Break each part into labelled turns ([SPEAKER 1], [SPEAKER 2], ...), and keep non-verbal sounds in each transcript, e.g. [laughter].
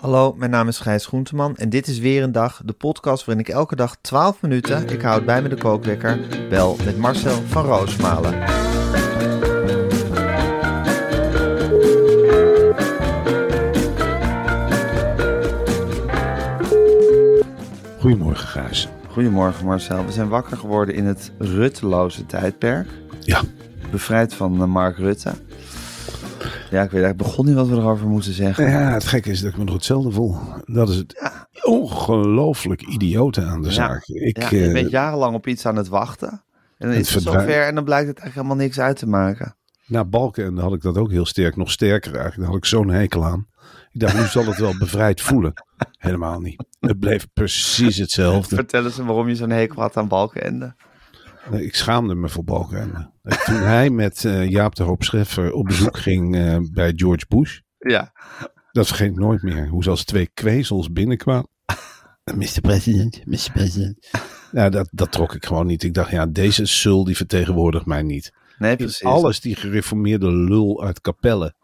[SPEAKER 1] Hallo, mijn naam is Gijs Groenteman en dit is weer een dag, de podcast waarin ik elke dag 12 minuten, ik houd bij me de kookwekker, bel met Marcel van Roosmalen.
[SPEAKER 2] Goedemorgen, Gijs.
[SPEAKER 1] Goedemorgen Marcel, we zijn wakker geworden in het rutteloze tijdperk,
[SPEAKER 2] Ja,
[SPEAKER 1] bevrijd van eh, Mark Rutte. Ja, ik weet eigenlijk begon niet wat we erover moeten zeggen.
[SPEAKER 2] Nou ja het gekke is dat ik me nog hetzelfde voel. Dat is het ongelooflijk idiote aan de zaak. Ik,
[SPEAKER 1] ja,
[SPEAKER 2] eh,
[SPEAKER 1] je bent jarenlang op iets aan het wachten en dan
[SPEAKER 2] Het
[SPEAKER 1] is het
[SPEAKER 2] verdwijnt.
[SPEAKER 1] zover en dan blijkt het eigenlijk helemaal niks uit te maken.
[SPEAKER 2] Na Balken had ik dat ook heel sterk, nog sterker eigenlijk. Daar had ik zo'n hekel aan. Ik dacht, nu zal het wel bevrijd
[SPEAKER 1] [laughs]
[SPEAKER 2] voelen. Helemaal niet. Het bleef precies hetzelfde.
[SPEAKER 1] Vertel eens waarom je zo'n hekel had aan Balkenende.
[SPEAKER 2] Nee, Ik schaamde me voor Balken. En Toen hij met eh, Jaap de Hoop Scheffer op
[SPEAKER 1] [laughs]
[SPEAKER 2] bezoek ging eh, bij George Bush.
[SPEAKER 1] Ja,
[SPEAKER 2] Dat vergeet ik nooit meer. Hoe ze als twee kwezels
[SPEAKER 1] [laughs]
[SPEAKER 2] binnenkwamen. Mr. President, Mr. President. [laughs] Ja, dat, dat trok ik gewoon niet. Ik dacht, ja, deze sul die vertegenwoordigt mij niet.
[SPEAKER 1] nee
[SPEAKER 2] In
[SPEAKER 1] precies.
[SPEAKER 2] alles die gereformeerde lul uit Capelle.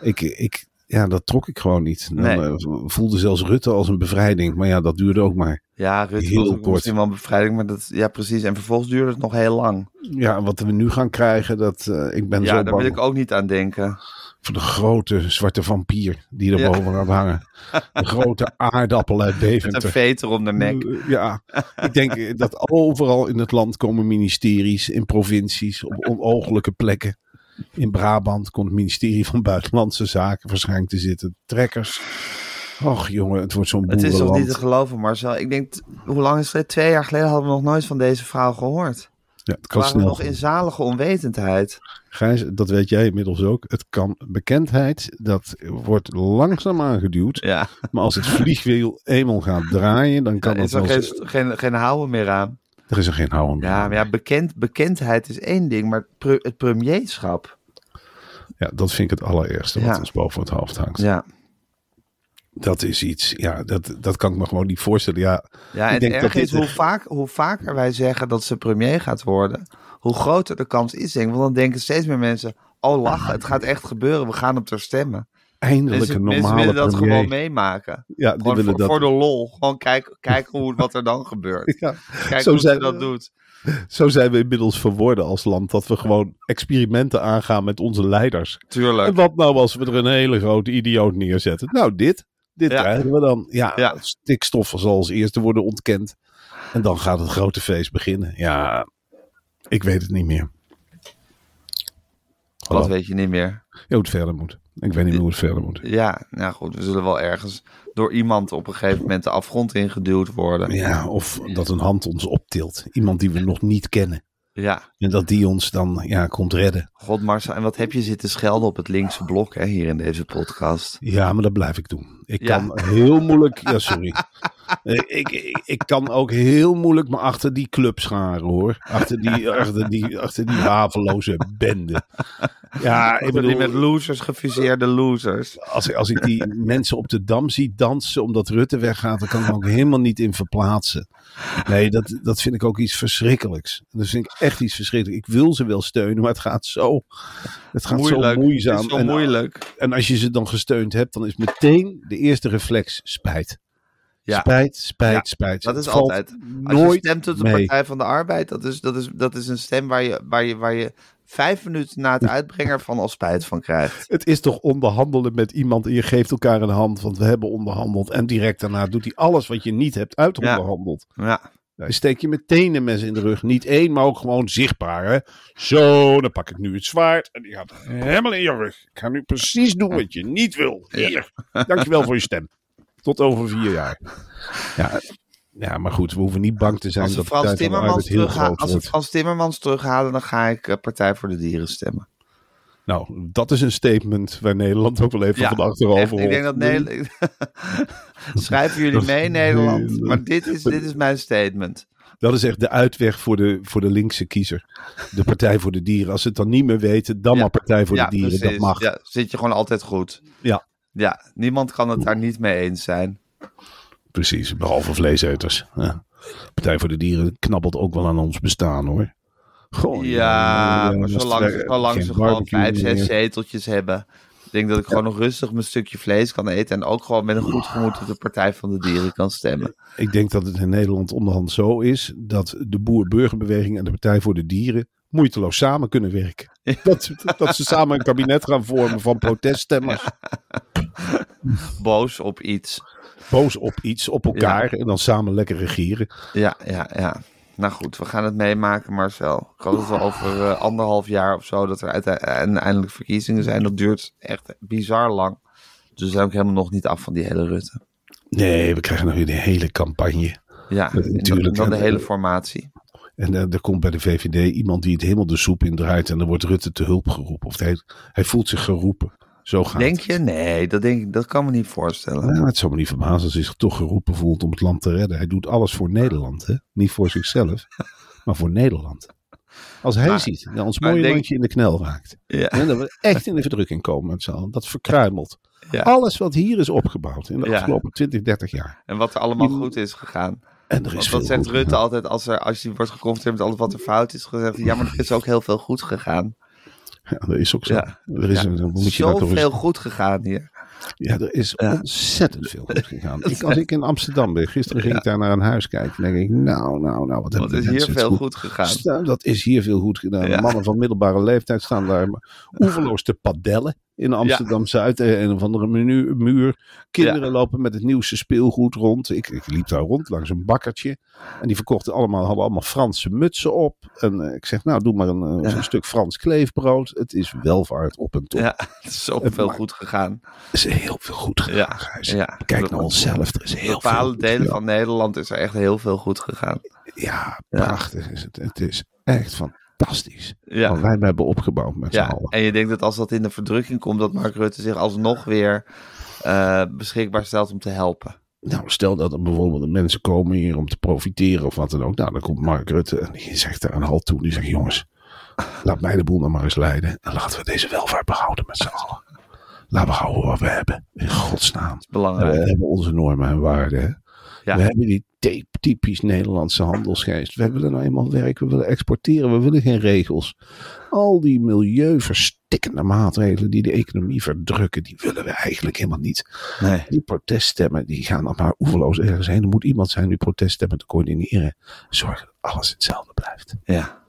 [SPEAKER 2] Ik, ik, ja, dat trok ik gewoon niet. Dan,
[SPEAKER 1] Nee.
[SPEAKER 2] eh, voelde zelfs Rutte als een bevrijding. Maar ja, dat duurde ook maar.
[SPEAKER 1] Ja, Rutte
[SPEAKER 2] Heel
[SPEAKER 1] was ook
[SPEAKER 2] kort.
[SPEAKER 1] misschien wel een bevrijding, maar dat, ja precies. En vervolgens duurde het nog heel lang.
[SPEAKER 2] Ja, wat we nu gaan krijgen, dat, eh, ik ben
[SPEAKER 1] ja,
[SPEAKER 2] zo
[SPEAKER 1] daar wil
[SPEAKER 2] bang
[SPEAKER 1] ik ook niet aan denken.
[SPEAKER 2] voor de grote zwarte vampier die er
[SPEAKER 1] Ja.
[SPEAKER 2] boven gaat hangen.
[SPEAKER 1] [laughs]
[SPEAKER 2] De grote aardappel uit
[SPEAKER 1] Met
[SPEAKER 2] Deventer.
[SPEAKER 1] een veter om de nek.
[SPEAKER 2] Eh, Ja, ik denk eh, dat overal in het land komen ministeries, in provincies, op onogelijke plekken. In Brabant komt het ministerie van Buitenlandse Zaken waarschijnlijk te zitten. Trekkers. Och jongen, het wordt zo'n
[SPEAKER 1] Het is toch niet
[SPEAKER 2] boerenland.
[SPEAKER 1] te geloven, Marcel. Ik denk, t- hoe lang is het? Twee jaar geleden hadden we nog nooit van deze vrouw gehoord.
[SPEAKER 2] ja, het
[SPEAKER 1] We
[SPEAKER 2] kan
[SPEAKER 1] waren
[SPEAKER 2] snel.
[SPEAKER 1] nog in zalige onwetendheid.
[SPEAKER 2] Gijs, dat weet jij inmiddels ook. Het kan bekendheid, dat wordt langzaam aangeduwd.
[SPEAKER 1] [laughs] Ja,
[SPEAKER 2] Maar als het vliegwiel eenmaal gaat draaien, dan kan
[SPEAKER 1] er
[SPEAKER 2] het
[SPEAKER 1] is er
[SPEAKER 2] wel...
[SPEAKER 1] geen, geen, geen houden meer aan.
[SPEAKER 2] Er is er geen houden meer.
[SPEAKER 1] Ja, maar ja, bekend, bekendheid is één ding, maar het pre- het premierschap.
[SPEAKER 2] Ja, dat vind ik het allereerste wat
[SPEAKER 1] Ja.
[SPEAKER 2] ons boven het hoofd hangt.
[SPEAKER 1] Ja,
[SPEAKER 2] Dat is iets, ja, dat, dat kan ik me gewoon niet voorstellen. Ja,
[SPEAKER 1] ja en het
[SPEAKER 2] ik denk dat
[SPEAKER 1] erg
[SPEAKER 2] dit
[SPEAKER 1] is hoe,
[SPEAKER 2] een-
[SPEAKER 1] vaak, hoe vaker wij zeggen dat ze premier gaat worden, hoe groter de kans is, denk ik. Want dan denken steeds meer mensen, oh lachen, het gaat echt gebeuren, we gaan op haar stemmen.
[SPEAKER 2] eindelijk
[SPEAKER 1] Mensen,
[SPEAKER 2] een
[SPEAKER 1] mensen
[SPEAKER 2] normale
[SPEAKER 1] willen dat
[SPEAKER 2] premier.
[SPEAKER 1] gewoon meemaken.
[SPEAKER 2] Ja, die
[SPEAKER 1] Gewoon
[SPEAKER 2] willen
[SPEAKER 1] voor,
[SPEAKER 2] dat.
[SPEAKER 1] voor de lol. Gewoon kijken, kijken hoe, wat er dan gebeurt.
[SPEAKER 2] [laughs] Ja,
[SPEAKER 1] Kijken
[SPEAKER 2] Zo
[SPEAKER 1] hoe ze
[SPEAKER 2] zijn-
[SPEAKER 1] dat doet.
[SPEAKER 2] zo zijn we inmiddels verworden als land dat we gewoon experimenten aangaan met onze leiders. En
[SPEAKER 1] Tuurlijk.
[SPEAKER 2] wat nou als we er een hele grote idioot neerzetten? Nou, dit, dit
[SPEAKER 1] Ja.
[SPEAKER 2] krijgen we dan. Ja,
[SPEAKER 1] Ja.
[SPEAKER 2] stikstof zal als eerste worden ontkend. En dan gaat het grote feest beginnen. Ja, ik weet het niet meer.
[SPEAKER 1] Dat
[SPEAKER 2] Hallo.
[SPEAKER 1] weet je niet meer.
[SPEAKER 2] Ja, Hoe het verder moet. Ik weet niet meer hoe het verder moet.
[SPEAKER 1] Ja, nou goed, we zullen wel ergens door iemand op een gegeven moment de afgrond ingeduwd worden.
[SPEAKER 2] Ja, of dat een hand ons optilt. Iemand die we nog niet kennen.
[SPEAKER 1] Ja,
[SPEAKER 2] En dat die ons dan ja, komt redden.
[SPEAKER 1] god Marcel, en wat heb je zitten schelden op het linkse blok hè, hier in deze podcast?
[SPEAKER 2] Ja, maar dat blijf ik doen. Ik
[SPEAKER 1] Ja.
[SPEAKER 2] kan heel moeilijk. Ja, sorry. Eh, ik, ik, ik kan ook heel moeilijk me achter die club scharen hoor. Achter die, achter die, achter die haveloze bende.
[SPEAKER 1] [laughs]
[SPEAKER 2] Ja, ik
[SPEAKER 1] Ik bedoel, die
[SPEAKER 2] bedoel,
[SPEAKER 1] met losers, gefuseerde losers.
[SPEAKER 2] als, als ik die mensen op de dam zie dansen omdat Rutte weggaat, dan kan ik me ook helemaal niet in verplaatsen. Nee, dat, dat vind ik ook iets verschrikkelijks. Dat vind ik echt iets verschrikkelijks. Ik wil ze wel steunen, maar het gaat zo, het gaat
[SPEAKER 1] Moeilijk.
[SPEAKER 2] zo moeizaam.
[SPEAKER 1] Het is zo
[SPEAKER 2] En-
[SPEAKER 1] moeilijk.
[SPEAKER 2] en als je ze dan gesteund hebt, dan is meteen de eerste reflex spijt.
[SPEAKER 1] Ja.
[SPEAKER 2] Spijt, spijt,
[SPEAKER 1] Ja,
[SPEAKER 2] spijt.
[SPEAKER 1] Dat
[SPEAKER 2] Het
[SPEAKER 1] is
[SPEAKER 2] valt
[SPEAKER 1] altijd. Als je
[SPEAKER 2] Nooit
[SPEAKER 1] stemt op de
[SPEAKER 2] mee.
[SPEAKER 1] Partij van de Arbeid, dat is, dat is, dat is een stem waar je, waar, je, waar je vijf minuten na het uitbrengen van al spijt van krijgt.
[SPEAKER 2] Het is toch onderhandelen met iemand en je geeft elkaar een hand, want we hebben onderhandeld. En direct daarna doet hij alles wat je niet hebt uitonderhandeld.
[SPEAKER 1] Ja.
[SPEAKER 2] Dan steek je meteen een mes in de rug. Niet één, maar ook gewoon zichtbaar. Hè? Zo, dan pak ik nu het zwaard en die gaat helemaal in je rug. Ik ga nu precies doen wat je niet wil. Hier, dankjewel voor je stem. Tot over vier jaar. Ja, ja maar goed, we hoeven niet bang te zijn
[SPEAKER 1] Als we,
[SPEAKER 2] dat de tijd
[SPEAKER 1] Frans
[SPEAKER 2] van de arbeid
[SPEAKER 1] Timmermans
[SPEAKER 2] heel
[SPEAKER 1] terugha-
[SPEAKER 2] groot
[SPEAKER 1] als we
[SPEAKER 2] wordt.
[SPEAKER 1] Frans Timmermans terughalen, dan ga ik eh, Partij voor de Dieren stemmen.
[SPEAKER 2] Nou, dat is een statement waar Nederland ook wel even
[SPEAKER 1] Ja,
[SPEAKER 2] van achterover
[SPEAKER 1] Echt, ik denk dat
[SPEAKER 2] holt.
[SPEAKER 1] Nederland. [laughs] Schrijven jullie mee, Nederland? Maar dit is, dit is mijn statement.
[SPEAKER 2] Dat is echt de uitweg voor de, voor de linkse kiezer. De Partij voor de Dieren. Als ze het dan niet meer weten, dan
[SPEAKER 1] Ja.
[SPEAKER 2] maar Partij voor
[SPEAKER 1] ja,
[SPEAKER 2] de Dieren.
[SPEAKER 1] precies.
[SPEAKER 2] Dat mag.
[SPEAKER 1] Ja, zit je gewoon altijd goed.
[SPEAKER 2] Ja.
[SPEAKER 1] Ja, niemand kan het daar niet mee eens zijn.
[SPEAKER 2] Precies, behalve vleeseters. Ja. Partij voor de Dieren knabbelt ook wel aan ons bestaan hoor. Goh,
[SPEAKER 1] Oh, Ja, maar zolang,
[SPEAKER 2] ze
[SPEAKER 1] ze- zolang ze gewoon vijf, zes zeteltjes hebben. Ik denk dat ik gewoon nog rustig mijn stukje vlees kan eten. En ook gewoon met een goed gemoed op de Partij van de Dieren kan stemmen.
[SPEAKER 2] Ik denk dat het in Nederland onderhand zo is dat de boer-burgerbeweging en de Partij voor de Dieren moeiteloos samen kunnen werken. Dat, dat ze samen een kabinet gaan vormen van proteststemmers.
[SPEAKER 1] Boos op iets.
[SPEAKER 2] boos op iets, op elkaar en dan samen lekker regeren.
[SPEAKER 1] Ja, ja, ja. Nou goed, we gaan het meemaken, Marcel. Ik hoop dat we over eh, anderhalf jaar of zo dat er uite- uiteindelijk verkiezingen zijn. Dat duurt echt bizar lang. Dus we zijn ook helemaal nog niet af van die hele Rutte.
[SPEAKER 2] Nee, we krijgen nog weer de hele campagne.
[SPEAKER 1] Ja, en dan-
[SPEAKER 2] natuurlijk.
[SPEAKER 1] dan de
[SPEAKER 2] En,
[SPEAKER 1] hele
[SPEAKER 2] eh,
[SPEAKER 1] formatie.
[SPEAKER 2] En eh, er komt bij de VVD iemand die het helemaal de soep in draait en dan wordt Rutte te hulp geroepen. Of hij, hij voelt zich geroepen. Zo gaat
[SPEAKER 1] Denk
[SPEAKER 2] het.
[SPEAKER 1] je? Nee, dat, denk ik, dat kan me niet voorstellen.
[SPEAKER 2] Nou, het zou me niet verbazen als hij zich toch geroepen voelt om het land te redden. Hij doet alles voor Nederland, hè? Niet voor
[SPEAKER 1] [laughs]
[SPEAKER 2] zichzelf, maar voor Nederland. Als hij
[SPEAKER 1] Maar-
[SPEAKER 2] ziet, nou, ons
[SPEAKER 1] maar
[SPEAKER 2] mooie
[SPEAKER 1] denk-
[SPEAKER 2] landje in de knel raakt.
[SPEAKER 1] Ja,
[SPEAKER 2] En dat
[SPEAKER 1] [laughs]
[SPEAKER 2] we echt in de verdrukking komen met z'n allen. Dat verkruimelt.
[SPEAKER 1] ja.
[SPEAKER 2] Alles wat hier is opgebouwd in de
[SPEAKER 1] Ja.
[SPEAKER 2] afgelopen 20, 30 jaar.
[SPEAKER 1] En wat er allemaal goed is gegaan.
[SPEAKER 2] En er is
[SPEAKER 1] Want
[SPEAKER 2] veel
[SPEAKER 1] dat zegt
[SPEAKER 2] goed
[SPEAKER 1] Rutte
[SPEAKER 2] gedaan.
[SPEAKER 1] altijd als, er, als hij wordt geconfronteerd met alles wat er fout is. gezegd. Ja, maar er is ook heel veel goed gegaan.
[SPEAKER 2] Ja, dat is ook zo.
[SPEAKER 1] Ja.
[SPEAKER 2] Er is
[SPEAKER 1] Ja.
[SPEAKER 2] een, dan moet je daar toch eens-
[SPEAKER 1] Zoveel goed gegaan hier.
[SPEAKER 2] ja, er is
[SPEAKER 1] Ja.
[SPEAKER 2] ontzettend veel goed
[SPEAKER 1] [laughs]
[SPEAKER 2] gegaan. Ik, als ik in Amsterdam ben, gisteren ging ik daar naar een huis kijken. Dan denk ik, nou, nou, nou,
[SPEAKER 1] Want
[SPEAKER 2] wat hebben de
[SPEAKER 1] er is hier
[SPEAKER 2] mensen het
[SPEAKER 1] veel goed
[SPEAKER 2] [laughs]
[SPEAKER 1] gegaan. [laughs]
[SPEAKER 2] Stel, Dat is hier veel goed gedaan.
[SPEAKER 1] Ja.
[SPEAKER 2] Mannen van middelbare leeftijd staan daar oeverloos te padellen in Amsterdam-Zuid. eh, Een of andere menu, muur. Kinderen
[SPEAKER 1] Ja.
[SPEAKER 2] lopen met het nieuwste speelgoed rond. Ik, ik liep daar rond langs een bakkertje. En die verkochten allemaal, hadden allemaal Franse mutsen op. En eh, ik zeg, nou, doe maar een, eh,
[SPEAKER 1] Ja.
[SPEAKER 2] een stuk Frans kleefbrood. Het is welvaart op en top.
[SPEAKER 1] Ja, het is zoveel
[SPEAKER 2] maar-
[SPEAKER 1] goed gegaan.
[SPEAKER 2] Er is heel veel goed gegaan,
[SPEAKER 1] Ja,
[SPEAKER 2] Gijs.
[SPEAKER 1] ja.
[SPEAKER 2] Kijk naar onszelf, er is
[SPEAKER 1] In
[SPEAKER 2] heel veel
[SPEAKER 1] bepaalde
[SPEAKER 2] goed
[SPEAKER 1] delen
[SPEAKER 2] gedaan.
[SPEAKER 1] van Nederland is er echt heel veel goed gegaan.
[SPEAKER 2] Ja,
[SPEAKER 1] Ja.
[SPEAKER 2] prachtig is het. Het is echt fantastisch.
[SPEAKER 1] Ja.
[SPEAKER 2] Wat wij hebben opgebouwd met z'n
[SPEAKER 1] Ja,
[SPEAKER 2] allen.
[SPEAKER 1] en je denkt dat als dat in de verdrukking komt, dat Mark Rutte zich alsnog weer eh, beschikbaar stelt om te helpen.
[SPEAKER 2] Nou, stel dat er bijvoorbeeld de mensen komen hier om te profiteren of wat dan ook. Nou, dan komt Mark Rutte en die zegt daar een halt toe. Die zegt, jongens, laat mij de boel nou maar eens leiden. En laten we deze welvaart behouden met z'n allen. Laten we houden wat we hebben. In godsnaam. We
[SPEAKER 1] Belangrijk.
[SPEAKER 2] hebben onze normen en waarden. hè.
[SPEAKER 1] Ja.
[SPEAKER 2] We hebben die tape, typisch Nederlandse handelsgeest. We willen nou eenmaal werken, we willen exporteren, we willen geen regels. Al die milieuverstikkende maatregelen die de economie verdrukken, die willen we eigenlijk helemaal niet.
[SPEAKER 1] Nee.
[SPEAKER 2] Die proteststemmen, die gaan dan maar oeverloos ergens heen. Er moet iemand zijn die proteststemmen te coördineren. Zorgen dat alles hetzelfde blijft.
[SPEAKER 1] Ja,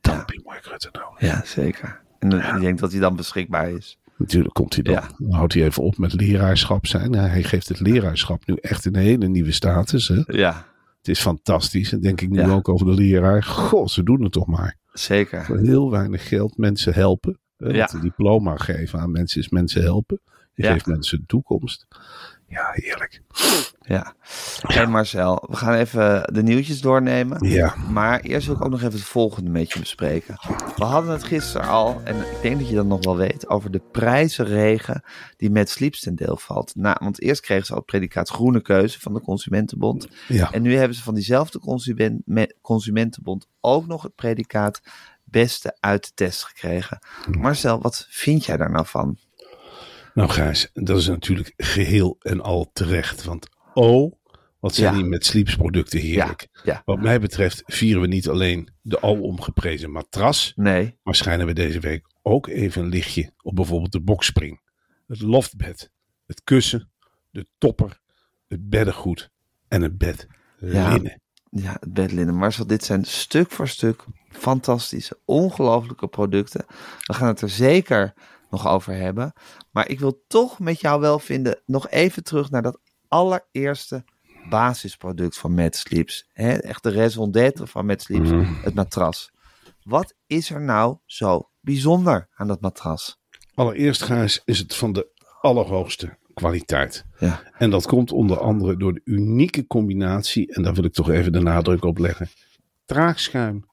[SPEAKER 2] Dan heb je Mark Rutte nodig.
[SPEAKER 1] ja, zeker. En dan- ik denk dat hij dan beschikbaar is.
[SPEAKER 2] Natuurlijk komt hij dan.
[SPEAKER 1] Ja.
[SPEAKER 2] Dan houdt hij even op met leraarschap zijn. Hij geeft het leraarschap nu echt een hele nieuwe status. Hè?
[SPEAKER 1] Ja,
[SPEAKER 2] Het is fantastisch. Dat denk ik nu
[SPEAKER 1] Ja.
[SPEAKER 2] ook over de leraar. Goh, ze doen het toch maar.
[SPEAKER 1] zeker.
[SPEAKER 2] Voor heel weinig geld mensen helpen. Hè,
[SPEAKER 1] Ja.
[SPEAKER 2] Want een diploma geven aan mensen is mensen helpen. Je
[SPEAKER 1] Ja.
[SPEAKER 2] geeft mensen een toekomst. Ja, heerlijk.
[SPEAKER 1] Ja. Hey Marcel, we gaan even de nieuwtjes doornemen.
[SPEAKER 2] Ja.
[SPEAKER 1] Maar eerst wil ik ook nog even het volgende met je bespreken. We hadden het gisteren al, en ik denk dat je dat nog wel weet, over de prijzenregen die met Sleeps ten deel valt. Nou, want eerst kregen ze al het predicaat groene keuze van de Consumentenbond.
[SPEAKER 2] Ja.
[SPEAKER 1] En nu hebben ze van diezelfde consument, me- Consumentenbond ook nog het predicaat beste uit de test gekregen. Marcel, wat vind jij daar nou van?
[SPEAKER 2] Nou, Gijs, dat is natuurlijk geheel en al terecht. Want oh, wat zijn
[SPEAKER 1] Ja.
[SPEAKER 2] die met sleepsproducten heerlijk.
[SPEAKER 1] Ja, ja.
[SPEAKER 2] Wat mij betreft vieren we niet alleen de alom geprezen matras.
[SPEAKER 1] Nee.
[SPEAKER 2] Maar schijnen we deze week ook even een lichtje op bijvoorbeeld de bokspring. Het loftbed, het kussen, de topper, het beddengoed en het bed
[SPEAKER 1] Ja.
[SPEAKER 2] linnen.
[SPEAKER 1] Ja, het bedlinnen. Marcel, dit zijn stuk voor stuk fantastische, ongelooflijke producten. We gaan het er zeker nog over hebben. Maar ik wil toch met jou wel vinden, nog even terug naar dat allereerste basisproduct van Mad Sleeps. Hè, echt de raison d'être van Mad Sleeps, het matras. Wat is er nou zo bijzonder aan dat matras?
[SPEAKER 2] Allereerst, Gijs, is het van de allerhoogste kwaliteit.
[SPEAKER 1] Ja,
[SPEAKER 2] En dat komt onder andere door de unieke combinatie, en daar wil ik toch even de nadruk op leggen, traagschuim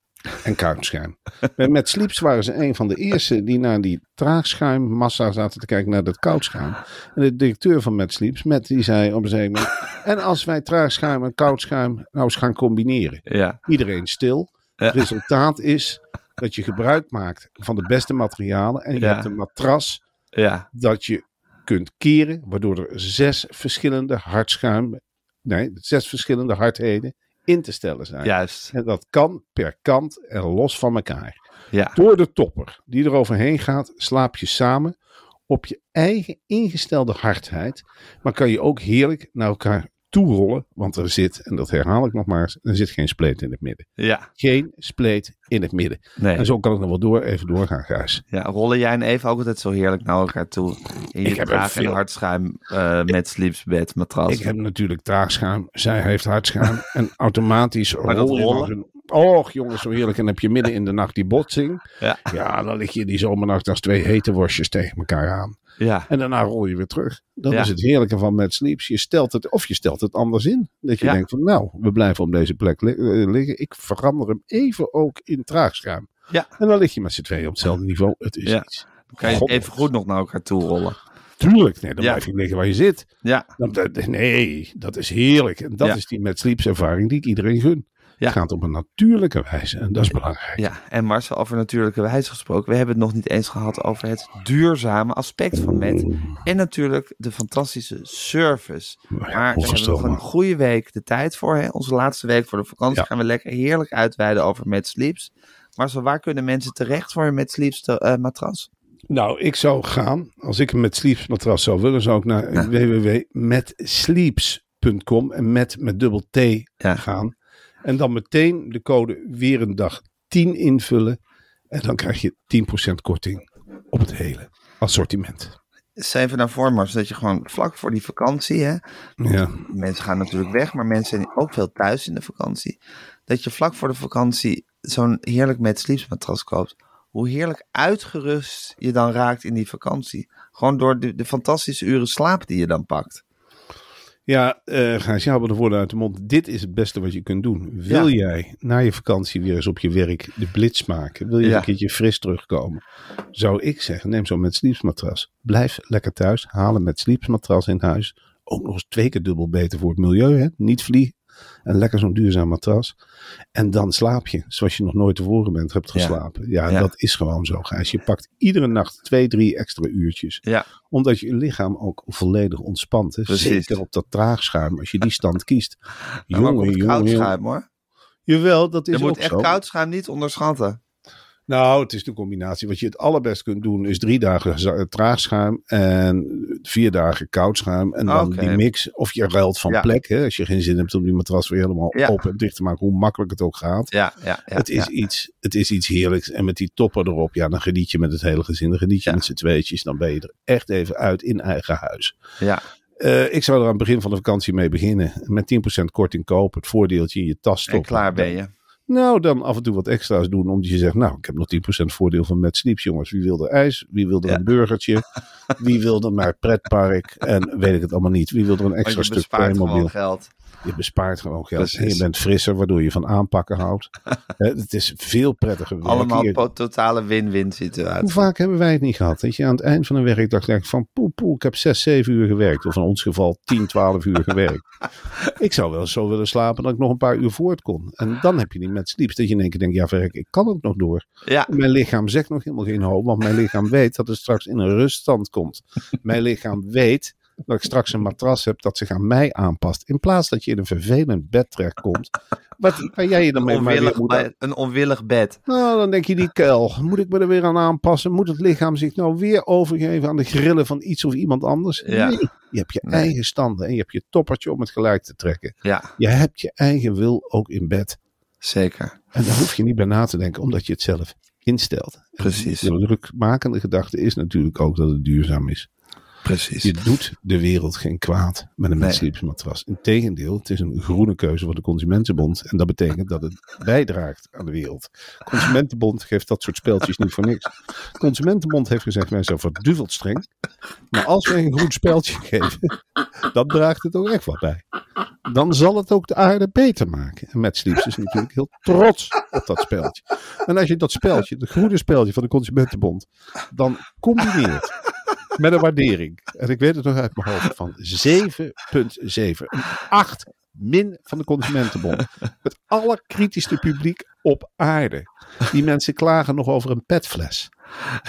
[SPEAKER 1] [laughs]
[SPEAKER 2] en kuimschuim. Bij Met Sleeps waren ze een van de eerste die naar die traagschuimmassa zaten te kijken, naar dat koudschuim. En de directeur van Met Sleeps, Matt, die zei op een gegeven moment,
[SPEAKER 1] [laughs]
[SPEAKER 2] en als wij traagschuim en koudschuim nou eens gaan combineren.
[SPEAKER 1] ja,
[SPEAKER 2] Iedereen stil. Het
[SPEAKER 1] Ja.
[SPEAKER 2] resultaat is dat je gebruik maakt van de beste materialen en je
[SPEAKER 1] Ja.
[SPEAKER 2] hebt een matras
[SPEAKER 1] ja,
[SPEAKER 2] dat je kunt keren, waardoor er zes verschillende hartschuim, nee, zes verschillende hardheden in te stellen zijn.
[SPEAKER 1] juist.
[SPEAKER 2] En dat kan per kant en los van elkaar.
[SPEAKER 1] Ja,
[SPEAKER 2] Door de topper die er overheen gaat, slaap je samen op je eigen ingestelde hardheid, maar kan je ook heerlijk naar elkaar toerollen, want er zit, en dat herhaal ik nog maar eens, er zit geen spleet in het midden.
[SPEAKER 1] ja,
[SPEAKER 2] Geen spleet in het midden.
[SPEAKER 1] nee.
[SPEAKER 2] En zo kan ik nog wel door, even doorgaan, Gijs.
[SPEAKER 1] Ja, rollen jij en Eva ook altijd zo heerlijk naar elkaar toe. In je
[SPEAKER 2] Ik heb
[SPEAKER 1] draag-
[SPEAKER 2] een
[SPEAKER 1] en
[SPEAKER 2] veel-
[SPEAKER 1] hardschuim eh, met sleepsbed, matras.
[SPEAKER 2] Ik heb natuurlijk traagschuim. Zij heeft hardschuim. En automatisch
[SPEAKER 1] Maar dat
[SPEAKER 2] rol je
[SPEAKER 1] rollen?
[SPEAKER 2] als een- Och jongens, zo heerlijk. En dan heb je midden in de nacht die botsing.
[SPEAKER 1] Ja.
[SPEAKER 2] ja, dan lig je die zomernacht als twee hete worstjes tegen elkaar aan.
[SPEAKER 1] Ja,
[SPEAKER 2] En daarna rol je weer terug. Dat
[SPEAKER 1] Ja.
[SPEAKER 2] is het heerlijke van Mad Sleeps. Je stelt het, of je stelt het anders in. Dat je
[SPEAKER 1] Ja.
[SPEAKER 2] denkt van nou, we blijven op deze plek li- eh, liggen. Ik verander hem even ook in traagschuim.
[SPEAKER 1] Ja.
[SPEAKER 2] En dan lig je met z'n tweeën op hetzelfde niveau. Het is
[SPEAKER 1] Ja.
[SPEAKER 2] iets.
[SPEAKER 1] dan kan je
[SPEAKER 2] God.
[SPEAKER 1] even goed nog naar elkaar toe rollen.
[SPEAKER 2] Tuurlijk, nee, dan
[SPEAKER 1] Ja.
[SPEAKER 2] blijf je liggen waar je zit.
[SPEAKER 1] Ja,
[SPEAKER 2] Dat- Nou, dat- Nee, dat is heerlijk. En dat
[SPEAKER 1] Ja.
[SPEAKER 2] is die met Sleeps ervaring die ik iedereen gun.
[SPEAKER 1] Ja.
[SPEAKER 2] Het gaat op een natuurlijke wijze en dat is belangrijk.
[SPEAKER 1] ja. En Marcel, over natuurlijke wijze gesproken. We hebben het nog niet eens gehad over het duurzame aspect van met. En natuurlijk de fantastische service. Maar daar hebben we nog
[SPEAKER 2] onvoorstelbaar.
[SPEAKER 1] een goede week de tijd voor. Hè? Onze laatste week voor de vakantie
[SPEAKER 2] Ja.
[SPEAKER 1] gaan we lekker heerlijk uitweiden over met sleeps. Marcel, waar kunnen mensen terecht voor een met sleeps te- eh, matras?
[SPEAKER 2] Nou, ik zou gaan, als ik een met Sleeps matras zou willen, zou ik naar www.metsleeps.com en met met dubbel T
[SPEAKER 1] Ja.
[SPEAKER 2] gaan. En dan meteen de code weer een dag 10 invullen. En dan krijg je 10% korting op het hele assortiment.
[SPEAKER 1] Zijn even naar voren, Marcel, dat je gewoon vlak voor die vakantie, hè,
[SPEAKER 2] Ja.
[SPEAKER 1] mensen gaan natuurlijk weg, maar mensen zijn ook veel thuis in de vakantie. Dat je vlak voor de vakantie zo'n heerlijk met Sleeps matras koopt. Hoe heerlijk uitgerust je dan raakt in die vakantie. Gewoon door de, de fantastische uren slaap die je dan pakt.
[SPEAKER 2] Ja, eh Gijs, jou hebben de woorden uit de mond. Dit is het beste wat je kunt doen. Wil
[SPEAKER 1] Ja.
[SPEAKER 2] jij na je vakantie weer eens op je werk de blitz maken? Wil je
[SPEAKER 1] Ja.
[SPEAKER 2] een keertje fris terugkomen? Zou ik zeggen, neem zo'n met sleepsmatras. Blijf lekker thuis. Haal een met sleepsmatras in huis. Ook nog eens twee keer dubbel beter voor het milieu. Hè? Niet vliegen. En lekker zo'n duurzaam matras. En dan slaap je zoals je nog nooit tevoren bent hebt
[SPEAKER 1] Ja.
[SPEAKER 2] geslapen. Ja,
[SPEAKER 1] Ja.
[SPEAKER 2] dat is gewoon zo, Gijs. Je pakt iedere nacht twee, drie extra uurtjes
[SPEAKER 1] Ja,
[SPEAKER 2] omdat je lichaam ook volledig ontspant. Hè?
[SPEAKER 1] Precies.
[SPEAKER 2] Zeker op dat traagschuim, als je die
[SPEAKER 1] [laughs]
[SPEAKER 2] stand kiest.
[SPEAKER 1] maar ook op
[SPEAKER 2] Jongen,
[SPEAKER 1] het
[SPEAKER 2] jongen,
[SPEAKER 1] koud
[SPEAKER 2] jongen.
[SPEAKER 1] schuim hoor.
[SPEAKER 2] Jawel, dat
[SPEAKER 1] Je
[SPEAKER 2] is
[SPEAKER 1] moet
[SPEAKER 2] ook
[SPEAKER 1] echt
[SPEAKER 2] zo.
[SPEAKER 1] koud schuim niet onderschatten.
[SPEAKER 2] Nou, het is de combinatie. Wat je het allerbest kunt doen is drie dagen za- traagschuim en vier dagen koudschuim. En dan
[SPEAKER 1] Oké.
[SPEAKER 2] die mix. Of je ruilt van
[SPEAKER 1] Ja.
[SPEAKER 2] plek. Hè? Als je geen zin hebt om die matras weer helemaal
[SPEAKER 1] Ja.
[SPEAKER 2] op en dicht te maken. Hoe makkelijk het ook gaat.
[SPEAKER 1] Ja, ja, ja.
[SPEAKER 2] het, is
[SPEAKER 1] ja.
[SPEAKER 2] iets, het is iets heerlijks. En met die topper erop, ja, dan geniet je met het hele gezin. Dan geniet je
[SPEAKER 1] Ja.
[SPEAKER 2] met z'n tweetjes. Dan ben je er echt even uit in eigen huis.
[SPEAKER 1] Ja,
[SPEAKER 2] Eh, ik zou er aan het begin van de vakantie mee beginnen. Met 10% korting kopen. Het voordeeltje in je tas
[SPEAKER 1] en
[SPEAKER 2] stoppen.
[SPEAKER 1] klaar ben je.
[SPEAKER 2] Nou, dan af en toe wat extra's doen. Omdat je zegt, nou, ik heb nog 10% voordeel van Mad Sleeps, jongens. Wie wil er ijs? Wie wil er
[SPEAKER 1] Ja.
[SPEAKER 2] een
[SPEAKER 1] [laughs]
[SPEAKER 2] burgertje? Wie wil er naar het pretpark? En weet ik het allemaal niet. Wie wil er een
[SPEAKER 1] Want
[SPEAKER 2] extra
[SPEAKER 1] Oh, je
[SPEAKER 2] stuk
[SPEAKER 1] bespaart
[SPEAKER 2] Playmobil?
[SPEAKER 1] gewoon geld.
[SPEAKER 2] Je bespaart gewoon geld.
[SPEAKER 1] Precies.
[SPEAKER 2] En je bent frisser, waardoor je van aanpakken
[SPEAKER 1] [laughs]
[SPEAKER 2] houdt. Hè, het is veel prettiger werk.
[SPEAKER 1] Allemaal
[SPEAKER 2] Hier-
[SPEAKER 1] po- totale win-win
[SPEAKER 2] Hoe
[SPEAKER 1] situatie.
[SPEAKER 2] vaak hebben wij het niet gehad? Dat je aan het eind van een werkdag denkt van poe poe, ik heb 6, 7 uur gewerkt. Of in ons geval 10, 12 uur gewerkt. ik zou wel eens zo willen slapen dat ik nog een paar uur voort kon. En dan heb je die met sleeps. Dat je in één keer denkt, ja verrek, ik kan ook nog door.
[SPEAKER 1] Ja,
[SPEAKER 2] Mijn lichaam zegt nog helemaal geen hoop. Want mijn lichaam weet dat het straks in een ruststand komt. Mijn lichaam weet dat ik straks een matras heb dat zich aan mij aanpast. In plaats dat je in een vervelend bed terechtkomt. Wat kan jij je dan mee maar weer
[SPEAKER 1] onwillig,
[SPEAKER 2] moet
[SPEAKER 1] bed- een onwillig bed.
[SPEAKER 2] nou, dan denk je die kuil. Moet ik me er weer aan aanpassen? Moet het lichaam zich nou weer overgeven aan de grillen van iets of iemand anders?
[SPEAKER 1] Ja.
[SPEAKER 2] Nee, je hebt je
[SPEAKER 1] Nee.
[SPEAKER 2] eigen standen en je hebt je toppertje om het gelijk te trekken.
[SPEAKER 1] Ja,
[SPEAKER 2] Je hebt je eigen wil ook in bed.
[SPEAKER 1] zeker.
[SPEAKER 2] En daar hoef je niet bij na te denken, omdat je het zelf instelt.
[SPEAKER 1] Precies.
[SPEAKER 2] De drukmakende gedachte is natuurlijk ook dat het duurzaam is. Je
[SPEAKER 1] Precies.
[SPEAKER 2] doet de wereld geen kwaad met een
[SPEAKER 1] Nee.
[SPEAKER 2] mensliepsmatras. Integendeel, het is een groene keuze van de Consumentenbond. En dat betekent dat het bijdraagt aan de wereld. Consumentenbond geeft dat soort speltjes niet voor niks. Consumentenbond heeft gezegd, wij zijn verduveld streng. Maar als wij een groen speltje geven, dan draagt het ook echt wat bij. Dan zal het ook de aarde beter maken. En Matt Sleeps is natuurlijk heel trots op dat speltje. En als je dat speltje, het groene speltje van de Consumentenbond, dan combineert met een waardering. En ik weet het nog uit mijn hoofd van 7,7. Een 8 min van de Consumentenbond. Het allerkritischste publiek op aarde. Die mensen klagen nog over een petfles.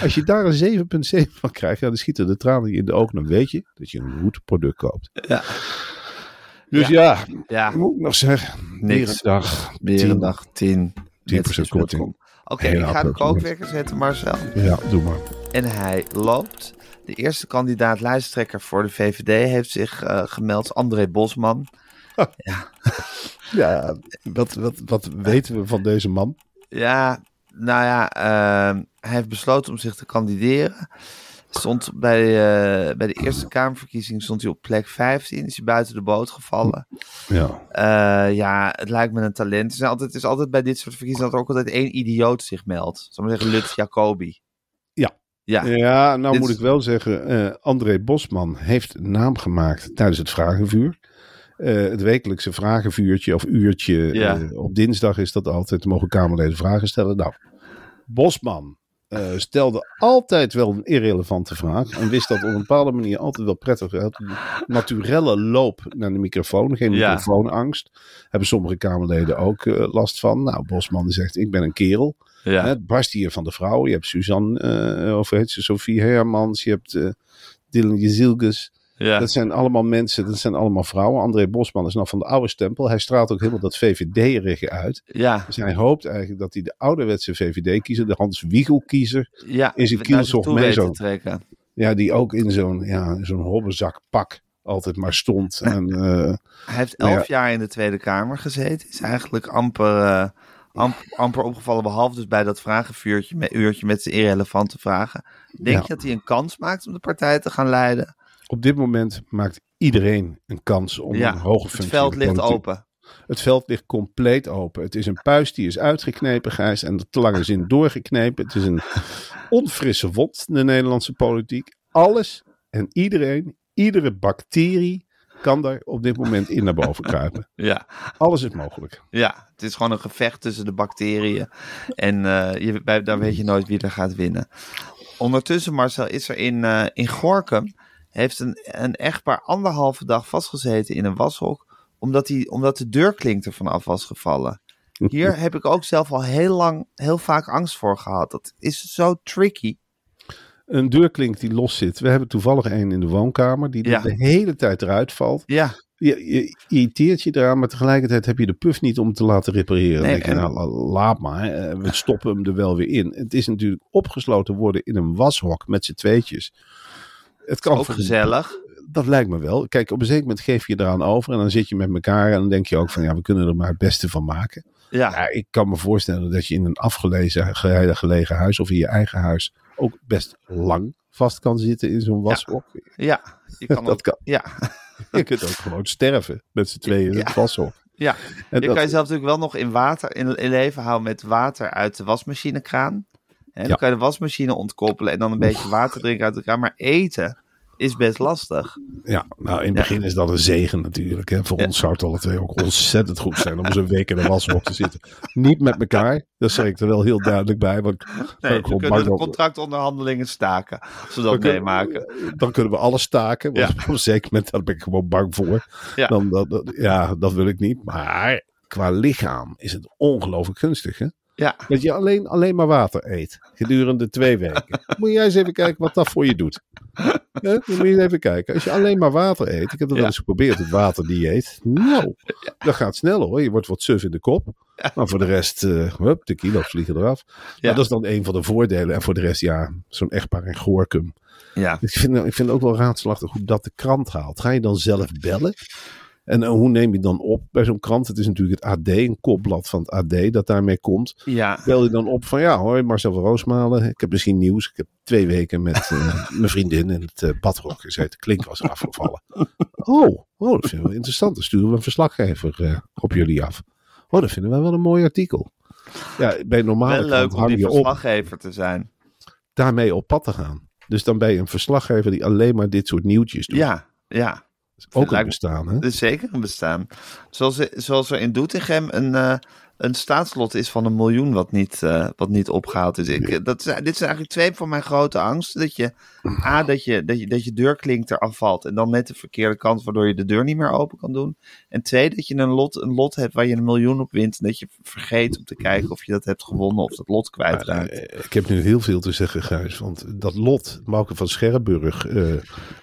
[SPEAKER 2] Als je daar een 7,7 van krijgt, ja, dan schieten de tranen je in de ogen. Dan weet je dat je een goed product koopt.
[SPEAKER 1] Ja.
[SPEAKER 2] Dus ja,
[SPEAKER 1] Ja,
[SPEAKER 2] moet ik nog zeggen.
[SPEAKER 1] Niks.
[SPEAKER 2] Weer een dag.
[SPEAKER 1] weer
[SPEAKER 2] Tien.
[SPEAKER 1] een dag 10.
[SPEAKER 2] 10% korting.
[SPEAKER 1] Oké,
[SPEAKER 2] Hele
[SPEAKER 1] ik ga de
[SPEAKER 2] applaus.
[SPEAKER 1] kookwekker zetten, Marcel.
[SPEAKER 2] Ja, doe maar.
[SPEAKER 1] En hij loopt. De eerste kandidaat lijsttrekker voor de VVD heeft zich eh, gemeld, André Bosman.
[SPEAKER 2] Ja, wat, wat, wat weten we van deze man?
[SPEAKER 1] Ja, nou ja, ehm, hij heeft besloten om zich te kandideren. Stond bij, eh, bij de Eerste Kamerverkiezing stond hij op plek 15, is hij buiten de boot gevallen.
[SPEAKER 2] Ja.
[SPEAKER 1] Eh, ja, het lijkt me een talent. Er zijn altijd, het is altijd bij dit soort verkiezingen dat er ook altijd één idioot zich meldt. Zal ik maar zeggen, Lut Jacobi.
[SPEAKER 2] Ja.
[SPEAKER 1] Ja,
[SPEAKER 2] Ja, nou
[SPEAKER 1] Dit
[SPEAKER 2] moet
[SPEAKER 1] is-
[SPEAKER 2] ik wel zeggen, eh, André Bosman heeft een naam gemaakt tijdens het vragenvuur. Eh, het wekelijkse vragenvuurtje of uurtje
[SPEAKER 1] Ja.
[SPEAKER 2] eh, op dinsdag is dat altijd. Dan Mogen Kamerleden vragen stellen? Nou, Bosman eh, stelde altijd wel een irrelevante vraag. En wist dat op een bepaalde manier altijd wel prettig. Hij had een naturelle loop naar de microfoon. Geen
[SPEAKER 1] Ja.
[SPEAKER 2] microfoonangst. Hebben sommige Kamerleden ook eh, last van. Nou, Bosman zegt, ik ben een kerel.
[SPEAKER 1] ja.
[SPEAKER 2] Hè, Het barst hier van de vrouw. Je hebt Suzanne, eh of hoe heet ze, Sophie Hermans. Je hebt eh Dylan Jezilkes.
[SPEAKER 1] ja.
[SPEAKER 2] Dat zijn allemaal mensen, dat zijn allemaal vrouwen. André Bosman is nog van de oude stempel. Hij straalt ook helemaal dat VVD-rige uit.
[SPEAKER 1] ja.
[SPEAKER 2] Dus hij hoopt eigenlijk dat hij de ouderwetse VVD-kiezer, de Hans Wiegel-kiezer,
[SPEAKER 1] ja.
[SPEAKER 2] is een
[SPEAKER 1] naar zich
[SPEAKER 2] kielzocht
[SPEAKER 1] toe weet
[SPEAKER 2] mee
[SPEAKER 1] te
[SPEAKER 2] zo.
[SPEAKER 1] trekken.
[SPEAKER 2] ja, die ook in zo'n ja, zo'n hobbezakpak altijd maar stond. En, eh,
[SPEAKER 1] Hij heeft
[SPEAKER 2] Nou ja.
[SPEAKER 1] elf jaar in de Tweede Kamer gezeten. Is eigenlijk amper, eh, amp- amper opgevallen. Behalve dus bij dat vragenvuurtje met, uurtje met zijn irrelevante vragen. Denk
[SPEAKER 2] Ja.
[SPEAKER 1] je dat hij een kans maakt om de partij te gaan leiden?
[SPEAKER 2] op dit moment maakt iedereen een kans om
[SPEAKER 1] ja,
[SPEAKER 2] een hoge functie
[SPEAKER 1] het
[SPEAKER 2] in
[SPEAKER 1] veld
[SPEAKER 2] de
[SPEAKER 1] ligt
[SPEAKER 2] politiek-
[SPEAKER 1] open.
[SPEAKER 2] Het veld ligt compleet open. Het is een puis die is uitgeknepen, Gijs, en de lange zin doorgeknepen. Het is een onfrisse wond, de Nederlandse politiek. Alles en iedereen, iedere bacterie kan daar op dit moment in naar boven
[SPEAKER 1] [laughs]
[SPEAKER 2] kruipen.
[SPEAKER 1] Ja,
[SPEAKER 2] Alles is mogelijk.
[SPEAKER 1] ja, het is gewoon een gevecht tussen de bacteriën. En eh, je, bij, daar weet je nooit wie er gaat winnen. Ondertussen, Marcel, is er in, eh, in Gorkum... heeft een, een echtpaar anderhalve dag vastgezeten in een washok... omdat, die, omdat de deurklink ervan af was gevallen. Hier heb ik ook zelf al heel lang, heel vaak angst voor gehad. Dat is zo tricky.
[SPEAKER 2] Een deurklink die los zit. We hebben toevallig een in de woonkamer die
[SPEAKER 1] Ja.
[SPEAKER 2] de hele tijd eruit valt.
[SPEAKER 1] Ja,
[SPEAKER 2] Je, je irriteert je eraan, maar tegelijkertijd heb je de puff niet om te laten repareren.
[SPEAKER 1] Nee,
[SPEAKER 2] Dan denk je,
[SPEAKER 1] en-
[SPEAKER 2] nou, la- laat maar. eh, We stoppen hem er wel weer in. Het is natuurlijk opgesloten worden in een washok met z'n tweetjes. Het kan
[SPEAKER 1] ook
[SPEAKER 2] voor-
[SPEAKER 1] gezellig.
[SPEAKER 2] Dat lijkt me wel. Kijk, op een zeker moment geef je je eraan over en dan zit je met elkaar en dan denk je ook van ja, we kunnen er maar het beste van maken.
[SPEAKER 1] Ja,
[SPEAKER 2] Ja, ik kan me voorstellen dat je in een afgelezen ge- gelegen huis of in je eigen huis ook best lang vast kan zitten in zo'n washok.
[SPEAKER 1] ja. Je kan
[SPEAKER 2] Dat
[SPEAKER 1] ook-
[SPEAKER 2] kan.
[SPEAKER 1] Ja,
[SPEAKER 2] Je kunt ook gewoon sterven met z'n tweeën in het washok.
[SPEAKER 1] Ja, je
[SPEAKER 2] dat-
[SPEAKER 1] kan jezelf natuurlijk wel nog in water in, in leven houden met water uit de wasmachinekraan. En
[SPEAKER 2] Ja.
[SPEAKER 1] dan kan je de wasmachine ontkoppelen en dan een beetje water drinken uit de kraan. Maar eten is best lastig.
[SPEAKER 2] Ja, nou in het begin is dat een zegen natuurlijk. Hè. Voor ons zou het alle twee ook ontzettend goed zijn om zo'n week in de washok te zitten. Niet met elkaar, dat zeg ik er wel heel duidelijk bij. Want ik ben
[SPEAKER 1] Nee,
[SPEAKER 2] ook
[SPEAKER 1] we
[SPEAKER 2] gewoon
[SPEAKER 1] kunnen
[SPEAKER 2] bang
[SPEAKER 1] de
[SPEAKER 2] dat-
[SPEAKER 1] contractonderhandelingen staken als we dat
[SPEAKER 2] Oké.
[SPEAKER 1] meemaken.
[SPEAKER 2] dan kunnen we alles staken. Want
[SPEAKER 1] Ja.
[SPEAKER 2] op een zeker moment daar ben ik gewoon bang voor.
[SPEAKER 1] Ja.
[SPEAKER 2] Dan, dat, dat- ja, dat wil ik niet. Maar qua lichaam is het ongelooflijk gunstig. Hè?
[SPEAKER 1] Ja,
[SPEAKER 2] Dat je alleen, alleen maar water eet gedurende twee weken. Moet jij eens even kijken wat dat voor je doet. Hè? Dan moet je eens even kijken. Als je alleen maar water eet. Ik heb dat wel
[SPEAKER 1] Ja.
[SPEAKER 2] eens geprobeerd, het waterdieet. Nou, dat gaat snel hoor. Je wordt wat suf in de kop. Maar voor de rest, eh, hup, de kilo's vliegen eraf.
[SPEAKER 1] Ja.
[SPEAKER 2] Maar dat is dan een van de voordelen. En voor de rest, ja, zo'n echtpaar in Goorkum.
[SPEAKER 1] ja.
[SPEAKER 2] Ik vind, eh, ik vind ook wel raadslachtig hoe dat de krant haalt. Ga je dan zelf bellen? En eh, hoe neem je dan op bij zo'n krant? Het is natuurlijk het AD, een kopblad van het AD dat daarmee komt.
[SPEAKER 1] ja.
[SPEAKER 2] Bel je dan op van ja, hoi Marcel van Roosmalen. Ik heb misschien nieuws. Ik heb twee weken met eh, mijn vriendin in het eh, badrok gezeten. De klink was eraf gevallen. Oh, oh, dat vinden we interessant. Dan sturen we een verslaggever eh, op jullie af. Oh, dat vinden wij wel een mooi artikel. Ja, bij normale
[SPEAKER 1] Wel
[SPEAKER 2] krant
[SPEAKER 1] leuk om
[SPEAKER 2] hang
[SPEAKER 1] die
[SPEAKER 2] je op
[SPEAKER 1] verslaggever te zijn.
[SPEAKER 2] daarmee op pad te gaan. Dus dan ben je een verslaggever die alleen maar dit soort nieuwtjes doet.
[SPEAKER 1] Ja, ja.
[SPEAKER 2] Dat is ook een
[SPEAKER 1] lijkt- [laughs]
[SPEAKER 2] bestaan, hè?
[SPEAKER 1] Dat is Dus zeker een bestaan. Zoals, zoals er in Doetinchem een, eh, een staatslot is van een miljoen wat niet, eh, wat niet opgehaald is. Ik, eh, dat, zijn- dit zijn eigenlijk twee van mijn grote angsten. Dat je, A, dat je, dat je, dat je deurklink eraf valt en dan net de verkeerde kant waardoor je de deur niet meer open kan doen. En twee, dat je een lot, een lot hebt waar je een miljoen op wint en dat je vergeet om te kijken of je dat hebt gewonnen of dat lot kwijtraakt.
[SPEAKER 2] Eh, Ik heb nu heel veel te zeggen, Gijs. Want dat lot, Mauke van Scherrenburg, eh,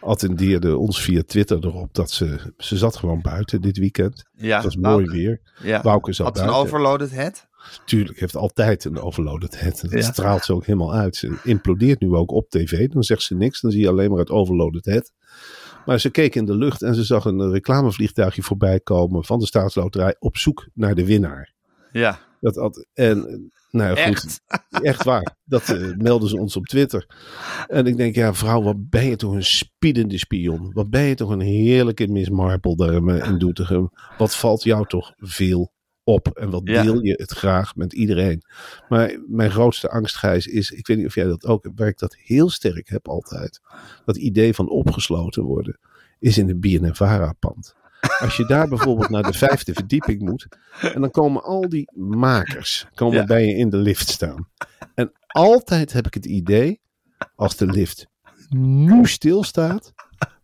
[SPEAKER 2] attendeerde ons via Twitter erop dat ze... Ze zat gewoon buiten dit weekend.
[SPEAKER 1] Ja,
[SPEAKER 2] het was
[SPEAKER 1] Wauke.
[SPEAKER 2] mooi weer.
[SPEAKER 1] Ja.
[SPEAKER 2] Wauke zat
[SPEAKER 1] Had een
[SPEAKER 2] buiten.
[SPEAKER 1] overloaded head?
[SPEAKER 2] Tuurlijk heeft altijd een overloaded head. En Dat
[SPEAKER 1] Ja.
[SPEAKER 2] straalt ze ook helemaal uit. Ze implodeert nu ook op tv. Dan zegt ze niks. Dan zie je alleen maar het overloaded head. Maar ze keek in de lucht en ze zag een eh, reclamevliegtuigje voorbij komen van de staatsloterij op zoek naar de winnaar.
[SPEAKER 1] Ja,
[SPEAKER 2] Dat had, en, eh, nou ja, goed,
[SPEAKER 1] echt.
[SPEAKER 2] Echt waar. Dat eh, melden ze ons op Twitter. En ik denk, ja, vrouw, wat ben je toch een spiedende spion? Wat ben je toch een heerlijke Miss Marple daar eh, in Doetinchem? Wat valt jou toch veel op? En wat
[SPEAKER 1] Ja.
[SPEAKER 2] deel je het graag met iedereen? Maar mijn grootste angst, Gijs, is, ik weet niet of jij dat ook hebt, waar ik dat heel sterk heb altijd. Dat idee van opgesloten worden, is in de BNNVARA-pand. Als je daar bijvoorbeeld naar de vijfde verdieping moet, en dan komen al die makers komen
[SPEAKER 1] Ja.
[SPEAKER 2] bij je in de lift staan. En altijd heb ik het idee, als de lift nu stilstaat,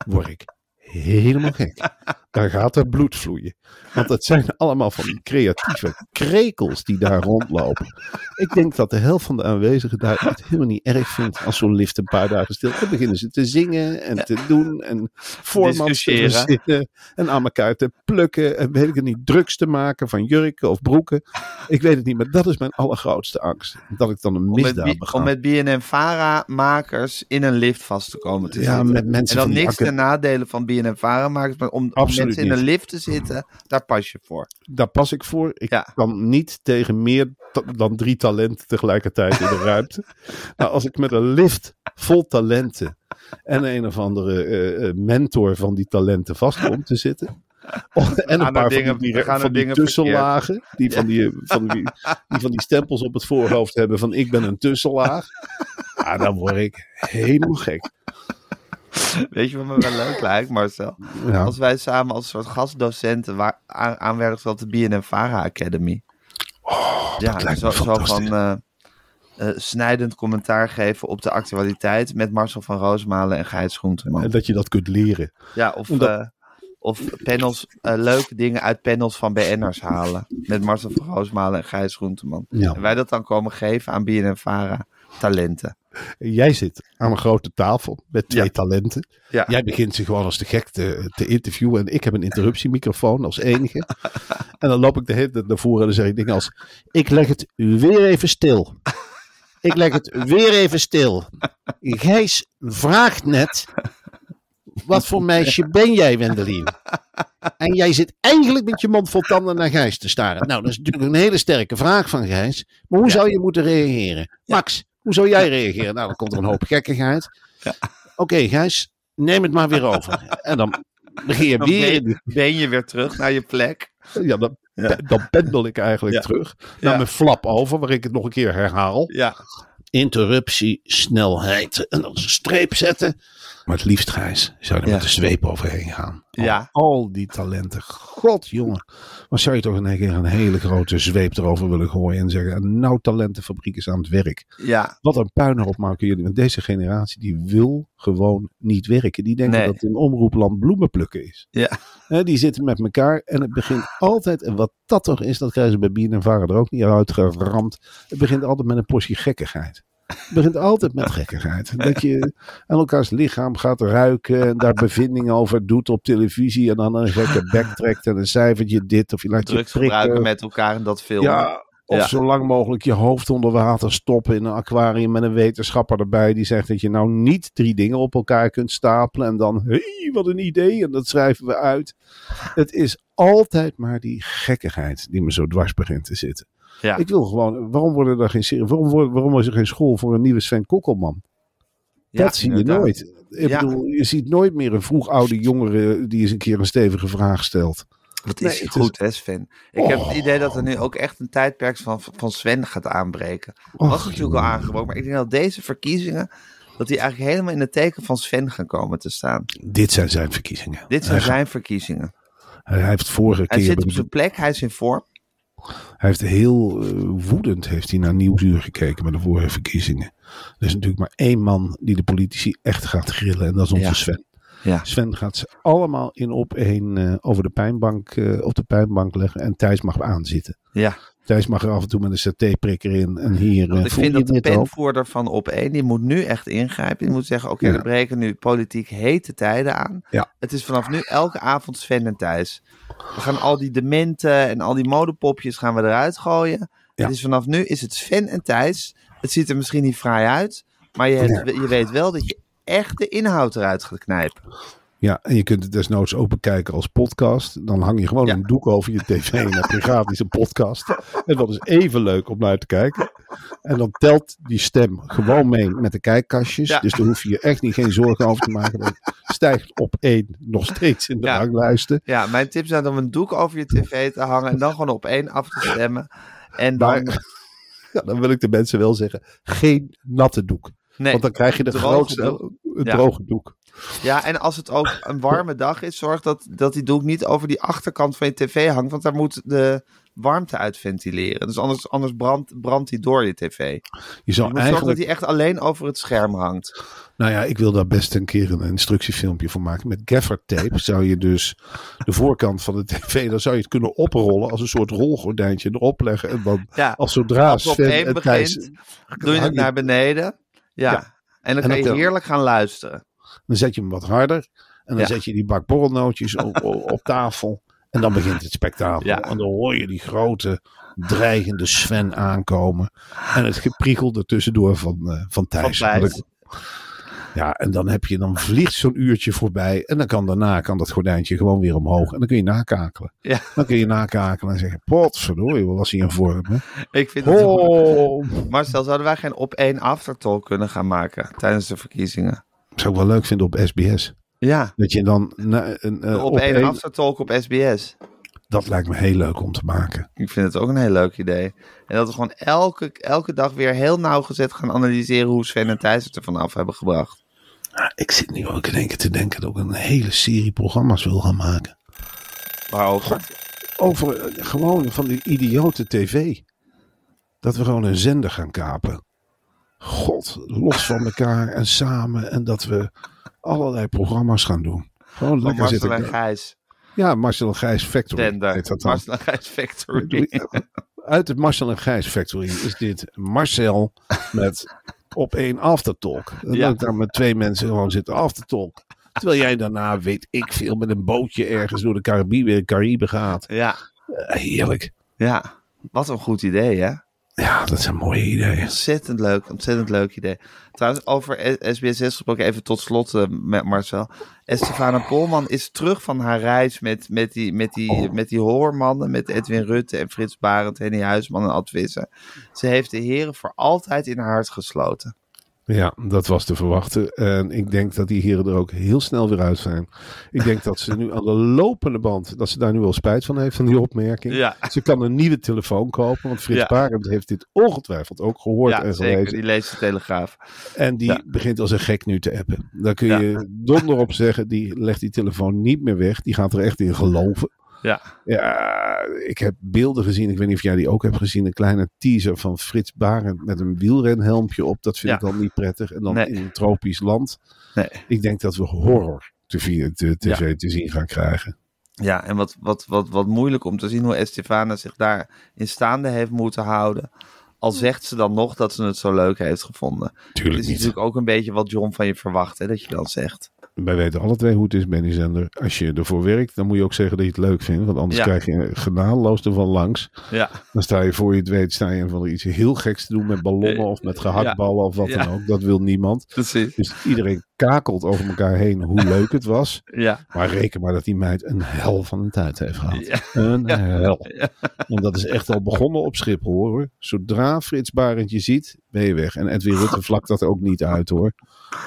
[SPEAKER 2] word ik helemaal gek. Dan gaat er bloed vloeien. Want het zijn allemaal van die creatieve krekels die daar rondlopen. Ik denk dat de helft van de aanwezigen daar het helemaal niet erg vindt als zo'n lift een paar dagen stil. Dan beginnen ze te zingen en te doen en voormans te
[SPEAKER 1] Discussiëren.
[SPEAKER 2] verzinnen en aan elkaar te plukken en weet ik het niet, drugs te maken van jurken of broeken. Ik weet het niet, maar dat is mijn allergrootste angst. Dat ik dan een
[SPEAKER 1] Om met,
[SPEAKER 2] misdaad
[SPEAKER 1] B- om
[SPEAKER 2] bega.
[SPEAKER 1] met BNM-VARA-makers in een lift vast te komen te
[SPEAKER 2] Ja,
[SPEAKER 1] zitten.
[SPEAKER 2] met mensen
[SPEAKER 1] en
[SPEAKER 2] van
[SPEAKER 1] dan
[SPEAKER 2] die
[SPEAKER 1] niks
[SPEAKER 2] acad-
[SPEAKER 1] ten nadele van BNM-VARA-makers, maar om, om
[SPEAKER 2] Absoluut
[SPEAKER 1] mensen in een
[SPEAKER 2] niet.
[SPEAKER 1] lift te zitten, daar pas je voor.
[SPEAKER 2] Daar pas ik voor. Ik
[SPEAKER 1] Ja.
[SPEAKER 2] kan niet tegen meer ta- dan drie talenten tegelijkertijd in
[SPEAKER 1] [laughs]
[SPEAKER 2] de ruimte. Maar als ik met een lift vol talenten en een of andere eh, eh, mentor van die talenten vast komt te zitten. Oh, en een
[SPEAKER 1] er
[SPEAKER 2] paar
[SPEAKER 1] dingen-
[SPEAKER 2] van die,
[SPEAKER 1] er gaan er
[SPEAKER 2] van die
[SPEAKER 1] dingen
[SPEAKER 2] tussenlagen. Die van die, eh, van, die, die van die stempels op het voorhoofd hebben van ik ben een
[SPEAKER 1] [laughs]
[SPEAKER 2] tussenlaag. Ah, dan word ik helemaal gek.
[SPEAKER 1] Weet je wat me wel
[SPEAKER 2] [laughs]
[SPEAKER 1] leuk lijkt, Marcel?
[SPEAKER 2] Ja.
[SPEAKER 1] Als wij samen als soort gastdocenten wa- aan- aanwerken op de BNM-VARA Academy. ja,
[SPEAKER 2] Oh, lijkt
[SPEAKER 1] zo,
[SPEAKER 2] me
[SPEAKER 1] zo
[SPEAKER 2] fantastisch.
[SPEAKER 1] van eh, eh, snijdend commentaar geven op de actualiteit met Marcel van Roosmalen en Gijs Groenteman.
[SPEAKER 2] En dat je dat kunt leren.
[SPEAKER 1] Ja, of,
[SPEAKER 2] Omdat-
[SPEAKER 1] eh, of panels, eh, leuke dingen uit panels van BN'ers halen. Met Marcel van Roosmalen en Gijs Groenteman.
[SPEAKER 2] Ja.
[SPEAKER 1] En wij dat dan komen geven aan BNNVARA talenten.
[SPEAKER 2] Jij zit aan een grote tafel met twee
[SPEAKER 1] Ja.
[SPEAKER 2] talenten.
[SPEAKER 1] Ja.
[SPEAKER 2] Jij begint ze gewoon als de gek te, te interviewen. En ik heb een interruptiemicrofoon als enige. en dan loop ik de hele tijd naar voren en dan zeg ik dingen als... Ik leg het weer even stil. Ik leg het weer even stil. Gijs vraagt net... Wat voor meisje ben jij, [laughs] Wendelin? En jij zit eigenlijk met je mond vol tanden naar Gijs te staren. Nou, dat is natuurlijk een hele sterke vraag van Gijs. Maar hoe zou je moeten reageren? Max, hoe zou jij reageren? Nou, dan komt er een hoop gekkigheid. Oké, Gijs, [laughs] neem het maar weer over. En dan begin je
[SPEAKER 1] Dan
[SPEAKER 2] weer in
[SPEAKER 1] ben,
[SPEAKER 2] die-
[SPEAKER 1] ben je weer terug naar je plek.
[SPEAKER 2] Ja, dan,
[SPEAKER 1] Ja.
[SPEAKER 2] dan pendel ik eigenlijk
[SPEAKER 1] Ja.
[SPEAKER 2] terug naar
[SPEAKER 1] Ja.
[SPEAKER 2] mijn flap over, waar ik het nog een keer herhaal.
[SPEAKER 1] Ja.
[SPEAKER 2] Interruptie, snelheid en dan een streep zetten. Maar het liefst, Gijs, zou je er
[SPEAKER 1] Ja.
[SPEAKER 2] met de zweep overheen gaan. Al-
[SPEAKER 1] Ja.
[SPEAKER 2] Al die talenten. God, jongen. Maar zou je toch in een keer een hele grote zweep erover willen gooien en zeggen, nou talentenfabriek is aan het werk.
[SPEAKER 1] Ja.
[SPEAKER 2] Wat een puinhoop maken jullie. Want deze generatie die wil gewoon niet werken. Die denken
[SPEAKER 1] Nee.
[SPEAKER 2] dat in omroepland bloemen plukken is.
[SPEAKER 1] Ja.
[SPEAKER 2] Hè, die zitten met elkaar en het begint altijd. En wat dat toch is, dat krijgen ze bij Bien en Varen er ook niet uit geramd. Het begint altijd met een portie gekkigheid. Het begint altijd met gekkigheid. Dat je aan elkaars lichaam gaat ruiken en daar bevindingen over doet op televisie. En dan een gekke bek trekt en een cijfertje dit of je laat je
[SPEAKER 1] Drugs gebruiken
[SPEAKER 2] prikken.
[SPEAKER 1] met elkaar en dat filmen.
[SPEAKER 2] Ja, of
[SPEAKER 1] Ja.
[SPEAKER 2] zo lang mogelijk je hoofd onder water stoppen in een aquarium met een wetenschapper erbij die zegt dat je nou niet drie dingen op elkaar kunt stapelen en dan, hé, hey, wat een idee, en dat schrijven we uit. Het is altijd maar die gekkigheid die me zo dwars begint te zitten.
[SPEAKER 1] Ja.
[SPEAKER 2] Ik wil gewoon, waarom, worden er geen, serie- waarom, worden, waarom is er geen school voor een nieuwe Sven Kokkelman?
[SPEAKER 1] Ja,
[SPEAKER 2] dat zie je
[SPEAKER 1] inderdaad.
[SPEAKER 2] nooit. Ik
[SPEAKER 1] Ja.
[SPEAKER 2] bedoel, je ziet nooit meer een vroeg oude jongere die eens een keer een stevige vraag stelt.
[SPEAKER 1] Wat
[SPEAKER 2] Nee,
[SPEAKER 1] is hij
[SPEAKER 2] het is-
[SPEAKER 1] goed, hè, Sven? Ik heb
[SPEAKER 2] Oh.
[SPEAKER 1] het idee dat er nu ook echt een tijdperk van, van Sven gaat aanbreken.
[SPEAKER 2] Och,
[SPEAKER 1] Was natuurlijk al aangebroken, maar ik denk dat deze verkiezingen. dat die eigenlijk helemaal in het teken van Sven gaan komen te staan.
[SPEAKER 2] Dit zijn zijn verkiezingen.
[SPEAKER 1] Dit
[SPEAKER 2] Hij
[SPEAKER 1] zijn zijn verkiezingen.
[SPEAKER 2] Hij heeft vorige
[SPEAKER 1] Hij
[SPEAKER 2] keer.
[SPEAKER 1] zit op zijn plek, hij is in vorm.
[SPEAKER 2] Hij heeft heel eh, woedend heeft hij naar nieuwsuur gekeken bij de vorige verkiezingen. Er is natuurlijk maar één man die de politici echt gaat grillen. En dat is onze
[SPEAKER 1] Ja.
[SPEAKER 2] Sven.
[SPEAKER 1] Ja.
[SPEAKER 2] Sven gaat ze allemaal in op één eh, over de pijnbank, eh, op de pijnbank leggen. En Thijs mag aanzitten.
[SPEAKER 1] ja.
[SPEAKER 2] Thijs mag er af en toe met een CT-prikker in. En hier eh
[SPEAKER 1] Want ik
[SPEAKER 2] voel
[SPEAKER 1] vind
[SPEAKER 2] je
[SPEAKER 1] dat de
[SPEAKER 2] dit ook.
[SPEAKER 1] penvoerder van op één, die moet nu echt ingrijpen. Die moet zeggen, oké,
[SPEAKER 2] Ja.
[SPEAKER 1] er breken nu politiek hete tijden aan.
[SPEAKER 2] Ja.
[SPEAKER 1] Het is vanaf nu elke avond Sven en Thijs. We gaan al die dementen en al die modepopjes gaan we eruit gooien.
[SPEAKER 2] Ja.
[SPEAKER 1] Het is vanaf nu is het Sven en Thijs. Het ziet er misschien niet fraai uit, maar je, hebt- je weet wel dat je echt de inhoud eruit gaat knijpen.
[SPEAKER 2] Ja, en je kunt het desnoods ook bekijken als podcast. Dan hang je gewoon
[SPEAKER 1] Ja.
[SPEAKER 2] een doek over je tv en heb je gratis een podcast. En dat is even leuk om naar te kijken. En dan telt die stem gewoon mee met de kijkkastjes.
[SPEAKER 1] Ja.
[SPEAKER 2] Dus daar hoef je je echt niet geen zorgen over te maken. Dat stijgt op één nog steeds in de
[SPEAKER 1] Ja.
[SPEAKER 2] ranglijsten.
[SPEAKER 1] Ja, mijn tip zijn om een doek over je tv te hangen en dan gewoon op één af te stemmen. En dan,
[SPEAKER 2] Dan, ja, dan wil ik de mensen wel zeggen, geen natte doek.
[SPEAKER 1] nee.
[SPEAKER 2] Want dan krijg je de
[SPEAKER 1] droge
[SPEAKER 2] grootste,
[SPEAKER 1] doek.
[SPEAKER 2] het
[SPEAKER 1] Ja.
[SPEAKER 2] droge doek.
[SPEAKER 1] Ja, en als het ook een warme dag is, zorg dat, dat die doek niet over die achterkant van je tv hangt. Want daar moet de warmte uit ventileren. Dus anders, anders brandt brandt die door je tv. Je
[SPEAKER 2] Je zou
[SPEAKER 1] moet zorgen
[SPEAKER 2] Nou, eigenlijk
[SPEAKER 1] dat die echt alleen over het scherm hangt.
[SPEAKER 2] Nou ja, ik wil daar best een keer een instructiefilmpje voor maken. Met gaffer tape zou je dus de voorkant van de tv, dan zou je het kunnen oprollen als een soort rolgordijntje erop leggen. En dan
[SPEAKER 1] Ja,
[SPEAKER 2] als zodra
[SPEAKER 1] als het op
[SPEAKER 2] Oh, Sven
[SPEAKER 1] één
[SPEAKER 2] en Thijs,
[SPEAKER 1] begint, doe je het naar beneden. Ja,
[SPEAKER 2] Ja.
[SPEAKER 1] en dan
[SPEAKER 2] En
[SPEAKER 1] kan
[SPEAKER 2] ook
[SPEAKER 1] je
[SPEAKER 2] de-
[SPEAKER 1] heerlijk gaan luisteren.
[SPEAKER 2] dan zet je hem wat harder. En dan
[SPEAKER 1] Ja.
[SPEAKER 2] zet je die bak
[SPEAKER 1] [laughs]
[SPEAKER 2] borrelnootjes op, op, op tafel. En dan begint het spektakel.
[SPEAKER 1] Ja.
[SPEAKER 2] En dan hoor je die grote, dreigende Sven aankomen. En het gepriegel ertussendoor van, eh, van
[SPEAKER 1] Van
[SPEAKER 2] Thijs.
[SPEAKER 1] Thijs.
[SPEAKER 2] Ja, en dan heb je, dan vliegt zo'n uurtje voorbij. En dan kan daarna kan dat gordijntje gewoon weer omhoog. En dan kun je nakakelen.
[SPEAKER 1] Ja.
[SPEAKER 2] Dan kun je nakakelen en zeggen: Potverdorie, wat was hij in vorm? Hè?
[SPEAKER 1] Ik vind dat...
[SPEAKER 2] Oh.
[SPEAKER 1] Marcel, zouden wij geen op één aftertalk kunnen gaan maken tijdens de verkiezingen?
[SPEAKER 2] Zou ik wel leuk vinden op SBS.
[SPEAKER 1] Ja,
[SPEAKER 2] Dat je dan na, een, eh,
[SPEAKER 1] op één
[SPEAKER 2] één-
[SPEAKER 1] aftertalk op SBS.
[SPEAKER 2] Dat lijkt me heel leuk om te maken.
[SPEAKER 1] Ik vind het ook een heel leuk idee. En dat we gewoon elke, elke dag weer heel nauwgezet gaan analyseren hoe Sven en Thijs het ervan af hebben gebracht.
[SPEAKER 2] Ja, ik zit nu ook in één keer te denken dat ik een hele serie programma's wil gaan maken.
[SPEAKER 1] Waarover?
[SPEAKER 2] Over eh, gewoon van die idiote tv. Dat we gewoon een zender gaan kapen. God, los van elkaar en samen. En dat we allerlei programma's gaan doen. Gewoon
[SPEAKER 1] Van
[SPEAKER 2] lekker
[SPEAKER 1] Marcel
[SPEAKER 2] zitten.
[SPEAKER 1] en Gijs.
[SPEAKER 2] Ja, Marcel en Gijs Factory.
[SPEAKER 1] Zender.
[SPEAKER 2] heet dat dan.
[SPEAKER 1] Marcel en Gijs
[SPEAKER 2] [laughs]
[SPEAKER 1] Factory.
[SPEAKER 2] Uit het Marcel en Gijs Factory is dit Marcel met op één aftertalk. En
[SPEAKER 1] Ja.
[SPEAKER 2] dat ik daar met twee mensen gewoon zitten aftertalk. Terwijl jij daarna, weet ik veel, met een bootje ergens door de Caribe, Caribe gaat.
[SPEAKER 1] Ja,
[SPEAKER 2] Eh, Heerlijk.
[SPEAKER 1] ja. Wat een goed idee, hè?
[SPEAKER 2] Ja, dat zijn mooie ideeën.
[SPEAKER 1] Ontzettend leuk, ontzettend leuk idee. Trouwens, over SBS6 gesproken, even tot slot eh, met Marcel. Estefana Polman is terug van haar reis met, met, die, met, die, met die hoormannen, met Edwin Rutte en Frits Barend, Henny Huisman en Ad Visser. Ze heeft de heren voor altijd in haar hart gesloten.
[SPEAKER 2] Ja, dat was te verwachten. En ik denk dat die heren er ook heel snel weer uit zijn. Ik denk dat ze nu aan de lopende band, dat ze daar nu wel spijt van heeft, van die opmerking.
[SPEAKER 1] Ja.
[SPEAKER 2] Ze kan een nieuwe telefoon kopen, want Frits
[SPEAKER 1] Ja.
[SPEAKER 2] Barend heeft dit ongetwijfeld ook gehoord
[SPEAKER 1] ja,
[SPEAKER 2] en
[SPEAKER 1] zeker.
[SPEAKER 2] gelezen.
[SPEAKER 1] Die leest de Telegraaf.
[SPEAKER 2] En die
[SPEAKER 1] Ja.
[SPEAKER 2] begint als een gek nu te appen. Daar kun
[SPEAKER 1] Ja.
[SPEAKER 2] je donder op zeggen, die legt die telefoon niet meer weg. Die gaat er echt in geloven.
[SPEAKER 1] Ja,
[SPEAKER 2] Ja, ik heb beelden gezien. Ik weet niet of jij die ook hebt gezien. Een kleine teaser van Frits Barend met een wielrenhelmpje op. Dat vind
[SPEAKER 1] Ja.
[SPEAKER 2] ik dan niet prettig. En dan
[SPEAKER 1] Nee.
[SPEAKER 2] in een tropisch land.
[SPEAKER 1] Nee.
[SPEAKER 2] Ik denk dat we horror te, vi- te- tv
[SPEAKER 1] Ja.
[SPEAKER 2] te zien gaan krijgen.
[SPEAKER 1] ja en wat, wat, wat, wat moeilijk om te zien hoe Estefana zich daar in staande heeft moeten houden. Al zegt ze dan nog dat ze het zo leuk heeft gevonden. Het
[SPEAKER 2] Tuurlijk
[SPEAKER 1] is
[SPEAKER 2] niet.
[SPEAKER 1] natuurlijk ook een beetje wat John van je verwacht, hè, dat je dan zegt.
[SPEAKER 2] Wij weten alle twee hoe het is, Benny Zender. Als je ervoor werkt, dan moet je ook zeggen dat je het leuk vindt. Want anders
[SPEAKER 1] Ja.
[SPEAKER 2] krijg je genadeloos ervan langs.
[SPEAKER 1] Ja,
[SPEAKER 2] Dan sta je voor je het weet, sta je van iets heel geks te doen met ballonnen
[SPEAKER 1] Eh,
[SPEAKER 2] of met gehaktballen of wat
[SPEAKER 1] Ja.
[SPEAKER 2] dan ook. Dat wil niemand.
[SPEAKER 1] precies.
[SPEAKER 2] Dus iedereen kakelt over elkaar heen
[SPEAKER 1] [laughs]
[SPEAKER 2] hoe leuk het was.
[SPEAKER 1] Ja,
[SPEAKER 2] Maar reken maar dat die meid een hel van een tijd heeft gehad.
[SPEAKER 1] ja,
[SPEAKER 2] Een hel. En dat is echt al begonnen op Schiphol hoor. Zodra Frits Barend je ziet, ben je weg. En Edwin Rutte vlakt dat ook niet uit hoor.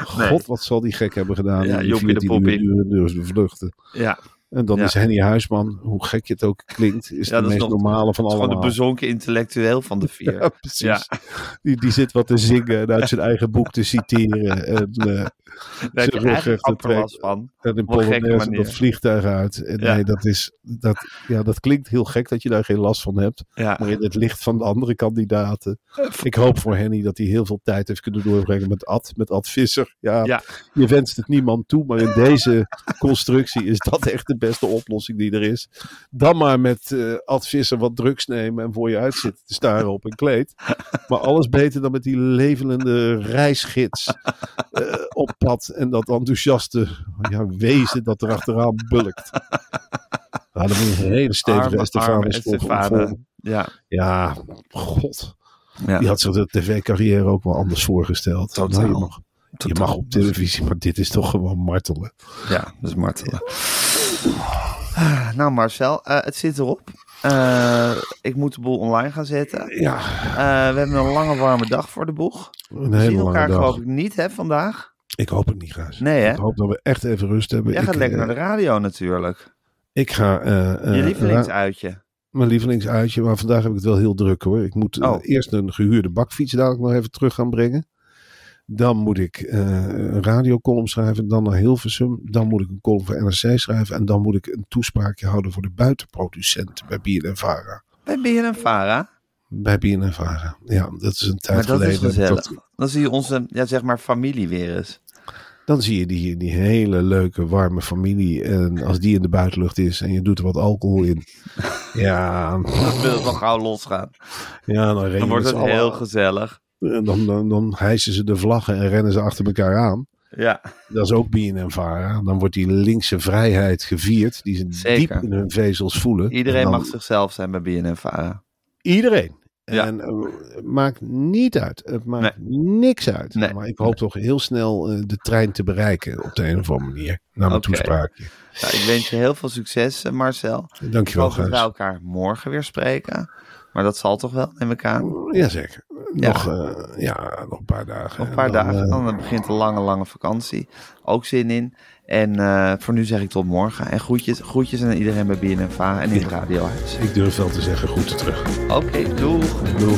[SPEAKER 2] God, wat zal die gek hebben gedaan.
[SPEAKER 1] Ja,
[SPEAKER 2] in die
[SPEAKER 1] Joppie de
[SPEAKER 2] 14 uur
[SPEAKER 1] Poppy.
[SPEAKER 2] durende vluchten.
[SPEAKER 1] ja.
[SPEAKER 2] En dan
[SPEAKER 1] Ja.
[SPEAKER 2] is Henny Huisman, hoe gek je het ook klinkt, is
[SPEAKER 1] Ja, dat
[SPEAKER 2] de
[SPEAKER 1] is nog-
[SPEAKER 2] meest normale van
[SPEAKER 1] Het is gewoon de
[SPEAKER 2] allemaal.
[SPEAKER 1] bezonken intellectueel van de vier.
[SPEAKER 2] Ja, precies. Die, die zit wat te zingen en uit zijn eigen boek te citeren. En, eh,
[SPEAKER 1] Daar heb
[SPEAKER 2] Zijn
[SPEAKER 1] je
[SPEAKER 2] rug
[SPEAKER 1] eigenlijk
[SPEAKER 2] heeft de
[SPEAKER 1] amper last van.
[SPEAKER 2] En in
[SPEAKER 1] Op een gekke
[SPEAKER 2] Polonaise
[SPEAKER 1] manier.
[SPEAKER 2] dat vliegtuig uit. En
[SPEAKER 1] Ja.
[SPEAKER 2] Nee, dat, is, dat, ja, dat klinkt heel gek dat je daar geen last van hebt.
[SPEAKER 1] Ja.
[SPEAKER 2] Maar in het licht van de andere kandidaten. Ik hoop voor Henny dat hij heel veel tijd heeft kunnen doorbrengen met Ad. Met Ad Visser. Ja,
[SPEAKER 1] Ja.
[SPEAKER 2] Je wenst het niemand toe. Maar in deze constructie is dat echt de beste oplossing die er is. Dan maar met eh Ad Visser wat drugs nemen. En voor je uit zitten te staren op een kleed. Maar alles beter dan met die levelende reisgids eh, op pad. En dat enthousiaste ja, wezen dat er achteraan bulkt. Nou, Ja, dat is een hele stevige
[SPEAKER 1] Arme, arme
[SPEAKER 2] Estefanus vol-
[SPEAKER 1] Estefane.
[SPEAKER 2] vol-
[SPEAKER 1] Ja,
[SPEAKER 2] Ja, god.
[SPEAKER 1] ja.
[SPEAKER 2] Die had zich de tv-carrière ook wel anders voorgesteld.
[SPEAKER 1] Totaal.
[SPEAKER 2] Nou, je, mag, je
[SPEAKER 1] Totaal.
[SPEAKER 2] mag op televisie, maar dit is toch gewoon martelen.
[SPEAKER 1] Ja, dus martelen. Ah, Nou Marcel, eh, het zit erop. Eh, ik moet de boel online gaan zetten.
[SPEAKER 2] Ja,
[SPEAKER 1] Eh, we hebben een lange warme dag voor de boeg.
[SPEAKER 2] een
[SPEAKER 1] We zien
[SPEAKER 2] hele lange
[SPEAKER 1] elkaar
[SPEAKER 2] dag.
[SPEAKER 1] geloof ik niet hè, vandaag.
[SPEAKER 2] Ik hoop het niet, Gijs.
[SPEAKER 1] Nee, hè?
[SPEAKER 2] Ik hoop dat we echt even rust hebben.
[SPEAKER 1] Jij
[SPEAKER 2] ik,
[SPEAKER 1] gaat lekker
[SPEAKER 2] eh,
[SPEAKER 1] naar de radio natuurlijk.
[SPEAKER 2] Ik ga... eh, eh,
[SPEAKER 1] Je lievelingsuitje.
[SPEAKER 2] mijn lievelingsuitje, maar vandaag heb ik het wel heel druk hoor. Ik moet eh,
[SPEAKER 1] Oh.
[SPEAKER 2] eerst een gehuurde bakfiets dadelijk nog even terug gaan brengen. Dan moet ik eh, een radiocolumn schrijven, dan naar Hilversum. Dan moet ik een column voor NRC schrijven. En dan moet ik een toespraakje houden voor de buitenproducent bij BNNVARA.
[SPEAKER 1] Bij BNN Vara.
[SPEAKER 2] Bij BNNVARA. Ja, dat is een tijd
[SPEAKER 1] Maar dat is dus
[SPEAKER 2] geleden.
[SPEAKER 1] gezellig.
[SPEAKER 2] Dat-
[SPEAKER 1] Dan zie je onze ja, zeg maar familie weer eens.
[SPEAKER 2] dan zie je die, die hele leuke, warme familie. En als die in de buitenlucht is en je doet er wat alcohol in. Ja, [laughs]
[SPEAKER 1] Dan wil het nog gauw losgaan.
[SPEAKER 2] ja dan,
[SPEAKER 1] Dan wordt het heel gezellig.
[SPEAKER 2] En dan, dan, dan hijsen ze de vlaggen en rennen ze achter elkaar aan.
[SPEAKER 1] Ja,
[SPEAKER 2] Dat is ook BNNVARA. Dan wordt die linkse vrijheid gevierd, die ze
[SPEAKER 1] Zeker.
[SPEAKER 2] diep in hun vezels voelen. En
[SPEAKER 1] iedereen
[SPEAKER 2] dan-
[SPEAKER 1] mag zichzelf zijn bij BNN Vara.
[SPEAKER 2] Iedereen.
[SPEAKER 1] Ja.
[SPEAKER 2] En eh, het maakt niet uit. Het maakt niks uit.
[SPEAKER 1] Nee.
[SPEAKER 2] Maar ik hoop toch heel snel eh, de trein te bereiken op de een of andere manier. Na mijn
[SPEAKER 1] Oké.
[SPEAKER 2] toespraakje.
[SPEAKER 1] Nou, ik wens je heel veel succes, eh, Marcel. Ik
[SPEAKER 2] Dankjewel,
[SPEAKER 1] hoop dat we
[SPEAKER 2] Gijs.
[SPEAKER 1] elkaar morgen weer spreken. Maar dat zal toch wel, neem ik aan. Nog
[SPEAKER 2] Jazeker.
[SPEAKER 1] Ja.
[SPEAKER 2] Nog, eh, ja, nog een paar dagen.
[SPEAKER 1] een paar
[SPEAKER 2] En dan,
[SPEAKER 1] dagen,
[SPEAKER 2] eh,
[SPEAKER 1] dan begint de lange, lange vakantie. Ook zin in. En eh, voor nu zeg ik tot morgen. En groetjes, groetjes aan iedereen bij BNNVA en in het radiohuis.
[SPEAKER 2] ik durf wel te zeggen, groeten terug.
[SPEAKER 1] Oké, doeg!
[SPEAKER 2] Doei.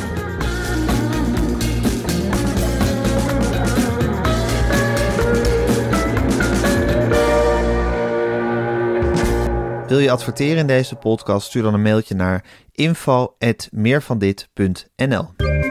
[SPEAKER 1] Wil je adverteren in deze podcast? Stuur dan een mailtje naar info.meervandit.nl